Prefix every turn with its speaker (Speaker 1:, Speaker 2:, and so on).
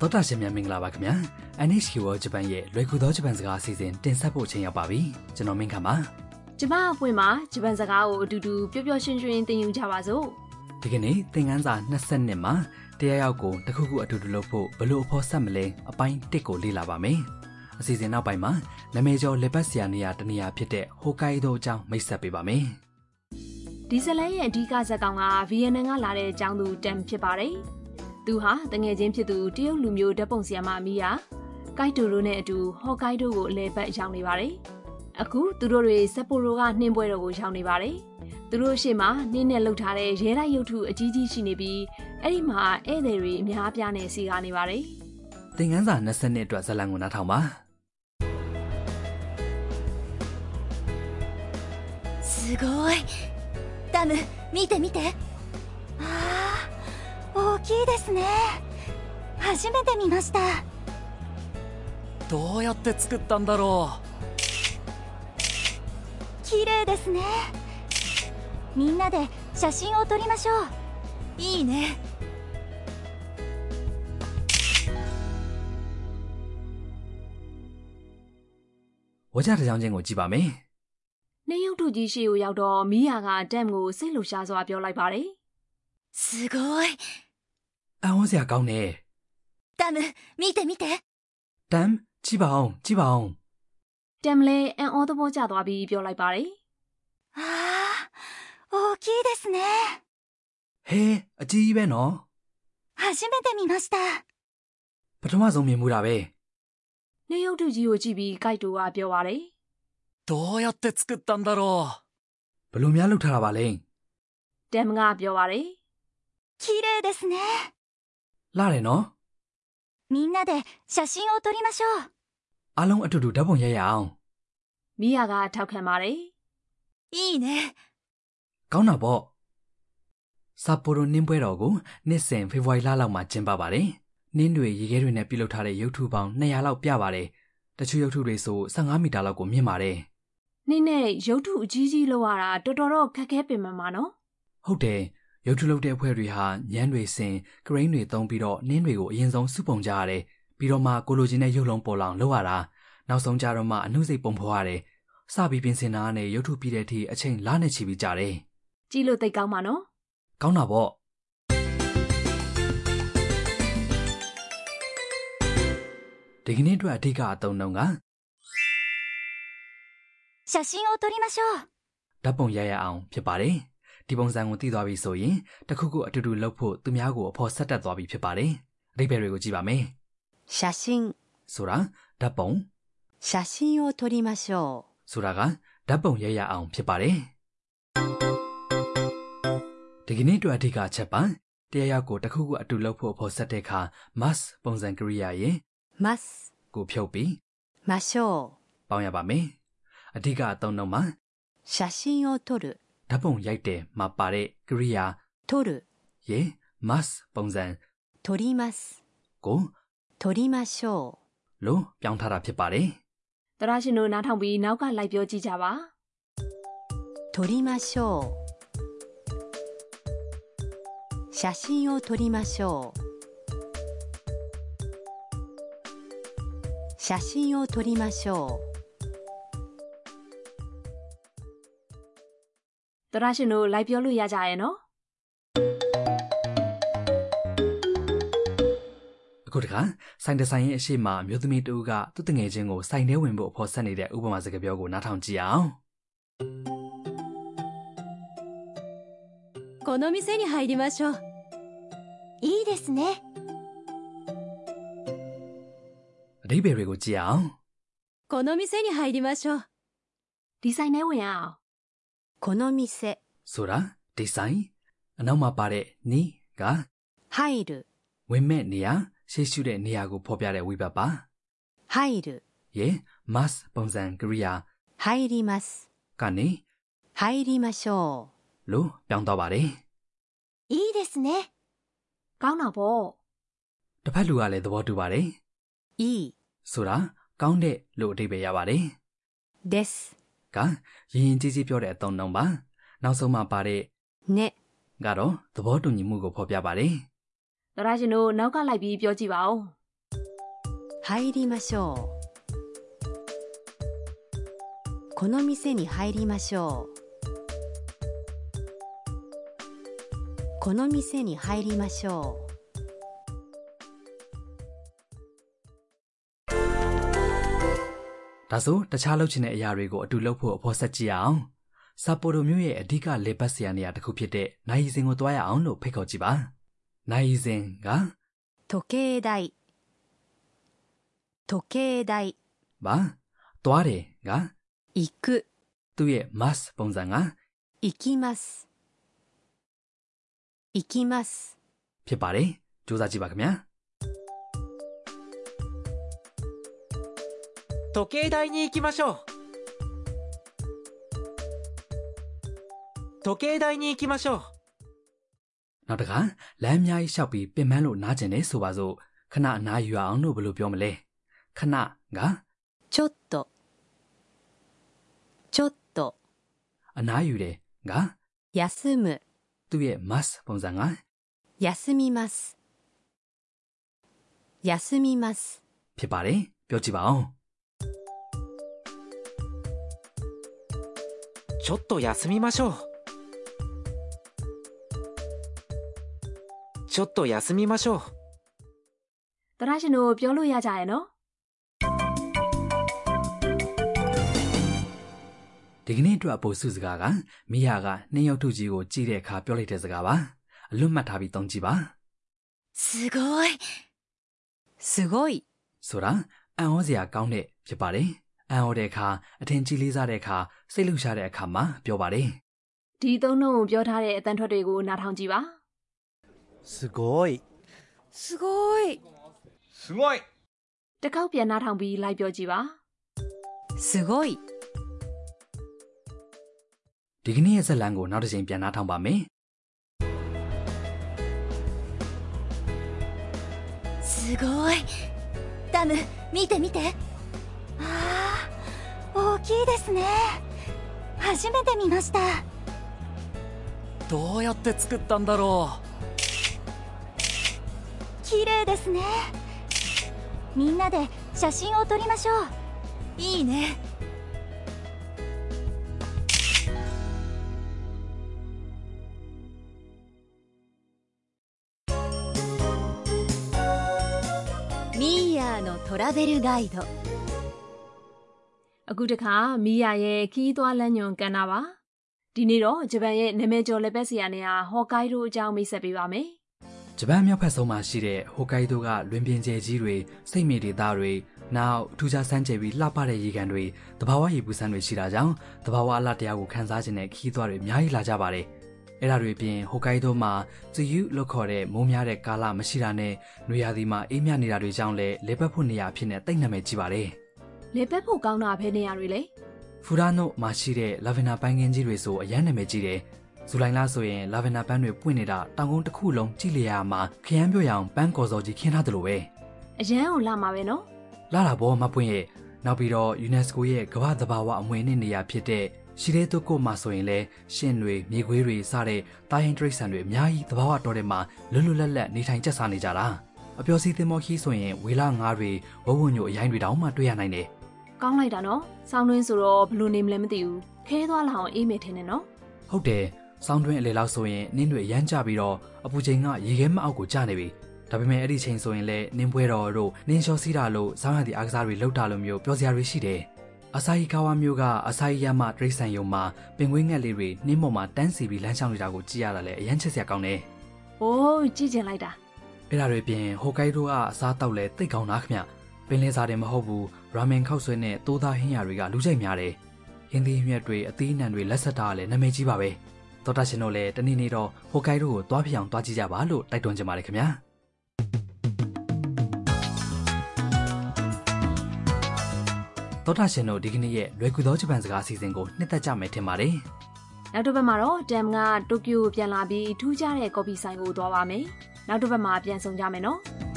Speaker 1: သောတာရှင်များမင်္ဂလာပါခင်ဗျာ NHK World Japan ရဲ့လွယ်ကူသောဂျပန်စကားအစီအစဉ်တင်ဆက်ဖို့အချိန်ရောက်ပါပြီကျွန်တော်မင်းခမ်းပါ
Speaker 2: ကျမအပွင့်မှာဂျပန်စကားကိုအတူတူပျော်ပျော်ရွှင်ရွှင်သင်ယူကြပါစို့
Speaker 1: ဒီကနေ့သင်ခန်းစာ20မှာတရားရောက်ကိုတစ်ခုခုအတူတူလုပ်ဖို့ဘယ်လို့အဖို့ဆက်မလဲအပိုင်း1ကိုလေ့လာပါမယ်အစီအစဉ်နောက်ပိုင်းမှာနာမည်ကျော်လက်ပတ်ဆရာနေရာတစ်နေရာဖြစ်တဲ့ဟိုကိုအိုဒိုအကြောင်းမိတ်ဆက်ပေးပါမယ်
Speaker 2: ဒီဇလန်ရဲ့အဓိကဇာတ်ကောင်ကဗီယက်နမ်ကလာတဲ့အကြောင်းသူတမ်ဖြစ်ပါတယ်သူဟာတငယ်ချင်းဖြစ်သူတရုတ်လူမျိုးဓာတ်ပုံဆရာမမီယာကိုက်တိုရိုနဲ့အတူဟော့ကိုက်ဒိုကိုအလဲပတ်ရောက်နေပါတယ်အခုသူတို့တွေဇက်ပိုရိုကနှင်းပွဲတော်ကိုရောက်နေပါတယ်သူတို့ရှေ့မှာနှင်းနဲ့လှုပ်ထားတဲ့ရဲတိုက်ရုပ်ထုအကြီးကြီးရှိနေပြီးအဲ့ဒီမှာဧည့်သည်တွေအများအပြားနဲ့စီကားနေပါတယ်
Speaker 1: သင်ခန်းစာ20အတွက်ဇာတ်လမ်းကိုနားထောင်ပါ
Speaker 3: すごいダム見て見てああ大きいですね初めて見ました
Speaker 4: どうやって作ったんだろ
Speaker 3: 綺麗ですねみんなで写真を撮りましょういいね
Speaker 1: ဝါကြတစ်ကြောင်းချင်းကိုကြည့်ပါမယ်
Speaker 2: နှင်းရုပ်ထုကြီးရှိကိုရောက်တော့မီးယာကတမ်ကိုစိတ်လှုပ်ရှားစွာပြောလိုက်ပါတယ်
Speaker 3: すごい
Speaker 1: အံ့ဩစရာကောင်းတယ်
Speaker 3: ダム見て見て
Speaker 1: တမ်ကြည့်ပါအောင်ကြည့်ပါအောင်
Speaker 2: ။တမ်လည်းအံ့ဩသဘောကျသွားပြီးပြောလိုက်ပါတယ်
Speaker 3: ああ大きいですね
Speaker 1: ဟဲအကြီးကြီးပဲနော်
Speaker 3: 初めて見ました
Speaker 1: ပထမဆုံးမြင်မှုတာပဲ
Speaker 2: ။နှင်းရုပ်ထုကြီးကိုကြည့်ပြီးကိုက်တိုကပြောပါတယ်
Speaker 4: うどうやって作ったんだろ
Speaker 1: ဘယ်လို့များလောက်ထားတာပါလဲ
Speaker 2: ။တမ်ကပြောပါတယ်
Speaker 3: 綺麗ですね
Speaker 1: လှတယ်နော်
Speaker 3: みんなで写真を撮りましょう
Speaker 1: အားလုံးအတူတူဓာတ်ပုံရိုက်ရအောင်
Speaker 2: ။မီးယာကထောက်ခံပါတယ်
Speaker 3: いいね
Speaker 1: ကောင်းတာပေါ့ဆပ်ပိုရိုနင်းပွဲတော်ကိုနှစ်စဉ်ဖေဖော်ဝါရီလလောက်မှာကျင်းပပါတယ်နင်းတွေရေခဲတွေနဲ့ပြုလုပ်ထားတဲ့ရုပ်ထုပေါင်း200လောက်ပြပါတယ်တချို့ရုပ်ထုတွေဆို15မီတာလောက်ကိုမြင့်ပါတယ်
Speaker 2: ။နှင်းနဲ့ရုပ်ထုအကြီးကြီးလောက်ရတာတော်တော်တော့ခက်ခဲပင်ပန်းပါနော်
Speaker 1: ဟုတ်တယ်ရုပ်ထုလုပ်တဲ့အဖွဲ့တွေဟာညမ်းတွေစင်ကရိန်းတွေသုံးပြီးတော့နင်းတွေကိုအရင်ဆုံးစုပုံကြရတယ်ပြီးတော့မှကိုလိုချင်တဲ့ရုပ်လုံးပေါ်လောင်လုပ်ရတာနောက်ဆုံးကြတော့မှအနှုစိတ်ပုံဖော်ရတယ်စပြီးပြင်ဆင်တာကနေရုပ်ထုပြီးတဲ့အထိအချိန်လနဲ့ချီပြီးကြတယ်
Speaker 2: ။ကြည့်လို့သိကောင်းပါနော်
Speaker 1: ကောင်းတာပေါ့ဒီကနေ့အတွက်အဓိကအသုံးနှုန်းက
Speaker 3: 写真を撮りましょう
Speaker 1: ဓာတ်ပုံရိုက်ရအောင်ဖြစ်ပါတယ်ဒီပုံစံကိုသိသွားပြီဆိုရင်တစ်ခုခုအတူတူလုပ်ဖို့သူများကိုအဖို့ဆက်တက်သွားပြီဖြစ်ပါတယ်အဓိပ္ပာယ်တွေကိုကြည့်ပါမယ်
Speaker 5: 写真、
Speaker 1: ဆိုတာဓာတ်ပုံ
Speaker 5: 写真を撮りましょ
Speaker 1: ဆိုတာကဓာတ်ပုံရိုက်ရအောင်ဖြစ်ပါတယ်ဒီကနေ့အတွက်အဓိကအချက်ပါတရားရောက်ကိုတစ်ခုခုအတူလုပ်ဖို့အဖို့ဆက်တဲ့အခါ must ပုံစံကရိယာရင်
Speaker 5: う。ます、
Speaker 1: ကိုဖြုတ်ပြီး
Speaker 5: ましょう。
Speaker 1: ပေါင်းရပါမယ်။အဓိကအသုံးနှုန်းမှာ
Speaker 5: 写真を撮る、
Speaker 1: ဓာတ်ပုံရိုက်တယ်မှာပါတဲ့ကရိယာ
Speaker 5: 撮る、
Speaker 1: ရေ must ပုံစံ
Speaker 5: 撮ります、
Speaker 1: ကို
Speaker 5: 撮りましょ
Speaker 1: လို့ပြောင်းထားတာဖြစ်ပါတယ်
Speaker 2: ။သရရှင်တို့နားထောင်ပြီးနောက်ကလိုက်ပြောကြည့်ကြပါ
Speaker 5: う。撮りましょう。写真を撮りましょう。写真を撮りましょ
Speaker 2: ။သရရှင်တို့လိုက်ပြောလို့ရကြရဲ့နော်
Speaker 1: ။အခုတခါဆိုင်ဒီဇိုင်းရဲ့အရှိမအမျိုးသမီးတူကသူ့တငယ်ချင်းကိုစိုင်ထဲဝင်ဖို့အဖို့ဆက်နေတဲ့ဥပမာစကားပြောကိုနားထောင်ကြည့်အောင်
Speaker 3: この店に入りましょういいですね
Speaker 1: ။အဓိပ္ပာယ်တွေကိုကြည့်အောင်
Speaker 3: この店に入りましょう
Speaker 2: ။ဒီဆိုင်ထဲဝင်ရအောင်
Speaker 5: う。この店、
Speaker 1: ဆိုတာဒီဇိုင်းအနောက်မှာပါတဲ့နီးက
Speaker 5: 入る、
Speaker 1: ဝင်မဲ့နေရာရှေ့ရှုတဲ့နေရာကိုဖော်ပြတဲ့ဝိဘတ်ပါ
Speaker 5: 入る、
Speaker 1: ။ရေ must ပုံစံကရိယာ
Speaker 5: 入ります、
Speaker 1: ကနေ
Speaker 5: 入りましょ
Speaker 1: လို့ပြောင်းသွားပါတယ်။
Speaker 3: いいですね
Speaker 2: ။ကောင်းတာပေါ့
Speaker 1: တစ်ဖက်လူကလည်းသဘောတူပါတယ်
Speaker 5: う。いい、
Speaker 1: ဆိုတာကောင်းတဲ့လို့အဓိပ္ပာယ်ရပါတယ်
Speaker 5: です、
Speaker 1: ကရင်ရင်ကြီးကြီးပြောတဲ့အသုံးနှုန်းပါနောက်ဆုံးမှပါတဲ့
Speaker 5: ね、
Speaker 1: ကတော့သဘောတူညီမှုကိုဖော်ပြပါတယ်
Speaker 2: ။သရရှင်တို့နောက်ကလိုက်ပြီးပြောကြည့်ပါဦး
Speaker 5: 入りましょうこの店に入りましょうこの店に入りましょう
Speaker 1: ဒါဆိုတခြားလုပ်ချင်တဲ့အရာတွေကိုအတူလုပ်ဖို့အဖို့ဆက်ကြည့်ရအောင်ဆာပိုရိုမြို့ရဲ့အဓိကလေပတ်စရာနေရာတစ်ခုဖြစ်တဲ့နိုင်ရီစင်ကိုသွားရအောင်လို့ဖိတ်ခေါ်ကြည့်ပါနိုင်ရီစင်က
Speaker 5: 時計台時計台
Speaker 1: ဘာသွားတယ်က
Speaker 5: 行く
Speaker 1: သူ့ရဲ့ mass ပုံစံက
Speaker 5: 行きます行きます
Speaker 1: ဖြစ်ပါတယ်စူးစမ်းကြည့်ပါခင်ဗျာ
Speaker 4: 時計台に行きましょう時計台に行きましょう
Speaker 1: နောက်တစ်ခါလမ်းအများကြီးလျှောက်ပြီးပင်ပန်းလို့နားကျင်နေဆိုပါစို့ခဏအနားယူရအောင်လို့ဘယ်လိုပြောမလဲခဏက
Speaker 5: ちょっとちょっと
Speaker 1: အနားယူတယ်က
Speaker 5: 休む
Speaker 1: သူ့ရဲ့ mass ပုံစံက
Speaker 5: 休みます休みます
Speaker 1: ဖြစ်ပါတယ်ပြောကြည့်ပါအောင်
Speaker 4: ちょっと休みましょうちょっと休みましょう
Speaker 2: တရရှင်တို့ပြောလို့ရကြရဲ့နော်
Speaker 1: ဒီကနေ့အတွက်အပေါ်စုစကားကမိယာကနှင်းရုပ်ထုကြီးကိုကြည့်တဲ့အခါပြောလိုက်တဲ့စကားပါအလွတ်မှတ်ထားပြီးသုံးကြည့်ပါ
Speaker 3: すごい
Speaker 5: すごい
Speaker 1: ဆိုတာအံ့ဩစရာကောင်းတဲ့ဖြစ်ပါတယ်အံ့ဩတဲ့အခါအထင်ကြီးလေးစားတဲ့အခါစိတ်လှုပ်ရှားတဲ့အခါမှာပြောပါတယ်
Speaker 2: ဒီသုံးလုံးကိုပြောထားတဲ့အတန်းထွက်တွေကိုနားထောင်ကြည့်ပါ
Speaker 6: すごい
Speaker 3: すごい
Speaker 7: すごい
Speaker 2: တစ်ခေါက်ပြန်နားထောင်ပြီးလိုက်ပြောကြည့်ပါ
Speaker 5: すごい
Speaker 1: ဒီကနေ့ရဲ့ဇက်လန်ကိုနောက်တစ်ချိန်ပြန်နှားထောင်ပါမယ်
Speaker 3: すごいダム見て見てああ大きいですね初めて見ました
Speaker 4: どうやって作ったんだろう
Speaker 3: 綺麗ですねみんなで写真を撮りましょういいねミーヤーのトラベルガイド
Speaker 2: အခုတစ်ခါမိယာရဲ့ခီးသွွားလမ်းညွန်ကန်တာပါဒီနေ့တော့ဂျပန်ရဲ့နာမည်ကျော်လက်ပတ်စရာနေရာဟော့ကိုင်ဒိုအကြောင်းမိတ်ဆက်ပေးပါမယ်
Speaker 1: ဂျပန်မြောက်ဘက်ဆုံးမှာရှိတဲ့ဟိုကိုင်ဒိုကလွင်ပြင်ကျယ်ကြီးတွေစိတ်မြေဒေသတွေနောက်ထူးခြားဆန်းကျယ်ပြီးလှပတဲ့ရေကန်တွေတဘာဝရေပူစမ်းတွေရှိတာကြောင့်တဘာဝအလှတရားကိုခန်းစားခြင်းနဲ့ခီးသွွားတွေအများကြီးလာကြပါတယ်အဲ့ဒါတွေအပြင်ဟိုကိုင်ဒိုမှာဇယူလို့ခေါ်တဲ့မိုးများတဲ့ကာလမရှိတာနဲ့နွေရာသီမှာအေးမြနေတာတွေကြောင့်လည်းလေပတ်ဖို့နေရာအဖြစ်နဲ့တိတ်နာမည်ကြီးပါတယ်
Speaker 2: လေပတ်ဖို့ကောင်းတာဘယ်နေရာတွေလဲ
Speaker 1: ဖူရာနိုမှာရှိတဲ့လာဗင်ဒါပန်းခင်းကြီးတွေဆိုအရန်နာမည်ကြီးတယ်။ဇူလိုင်လဆိုရင်လာဗင်ဒါပန်းတွေပွင့်နေတာတောင်ကုန်းတစ်ခုလုံးကြည့်လျာမှာခရမ်းပြောရအောင်ပန်းကော်စော်ကြီးခင်းထားတယ်လို့ပဲ
Speaker 2: အရန်ကိုလာမှာပဲနော်
Speaker 1: ။လာလာဘောမပွင့်ရဲ့နောက်ပြီးတော့ UNESCO ရဲ့ကမ္ဘာသဘာဝအမွေအနှစ်နေရာဖြစ်တဲ့ရှိတဲ့တုတ်ကိုမှာဆိုရင်လဲရှင်တွေမြေခွေးတွေစတဲ့တာဟင်တရိတ်ဆန်တွေအများကြီးသဘာဝတော်တွေမှာလွတ်လွတ်လပ်လပ်နေထိုင်ကျက်စားနေကြတာ။အပျော်စီသင်မောခီးဆိုရင်ဝေလာငါးတွေဝဝညိုအရိုင်းတွေတောင်မှတွေ့ရနိုင်တယ်။
Speaker 2: ကောင်းလိုက်တာနော်ဆောင်းတွင်းဆိုတော့ဘယ်လိုနေမလဲမသိဘူးခဲသွားလာအောင်အေးမယ်ထင်တယ်နော်
Speaker 1: ဟုတ်တယ်စောင်းတွင်းအလေလောက်ဆိုရင်နင်းတွေရမ်းကြပြီးတော့အပူချိန်ကရေခဲမအောက်ကိုကျနေပြီဒါပေမဲ့အဲ့ဒီချိန်ဆိုရင်လည်းနင်းပွဲတော်တို့နင်းလျှောစီးတာလို့စောင်းရသည့်အားကစားတွေလှုပ်တာလိုမျိုးပြောစရာတွေရှိတယ်အစာရီကာဝါမျိုးကအစာရီရမတရိတ်ဆန်ယုံမှာပင်ကွေးငှက်လေးတွေနင်းပေါ်မှာတန်းစီပြီးလမ်းလျှောက်နေတာကိုကြည့်ရတာလည်းအရန်ချစ်စရာကောင်းတယ်
Speaker 2: ။အိုးကြည့်ချင်လိုက်တာ
Speaker 1: အဲ့ဒါတွေပြင်ဟိုကိုင်ဒိုကအစားတောက်လည်းသိပ်ကောင်းတာခင်ဗျပင်လင်းစားတယ်မဟုတ်ဘူးရာမင်ခောက်ဆွဲနဲ့တိုးသားဟင်းရတွေကလူကြိုက်များတယ်ရင်းသီးမြက်တွေအသီးအနှံတွေလက်ဆက်တာကလည်းနာမည်ကြီးပါပဲ သောတာရှင်တို့လည်းတနေ့နေ့တော့ဟိုကိုင်ဒိုကိုသွားဖြစ်အောင်သွားကြည့်ကြပါလို့တိုက်တွန်းချင်ပါတယ်ခင်ဗျာသောတာရှင်တို့ဒီကနေ့ရဲ့လွယ်ကူသောဂျပန်စကားအစီအစဉ်ကိုနှစ်သက်ကြမယ်ထင်ပါတယ်
Speaker 2: ။နောက်တစ်ပတ်မှာတော့တမ်ကတိုကျိုပြန်လာပြီးထူးခြားတဲ့ကော်ဖီဆိုင်ကိုသွားပါမယ်။နောက်တစ်ပတ်မှာပြန်ဆောင်ကြမယ်နော်။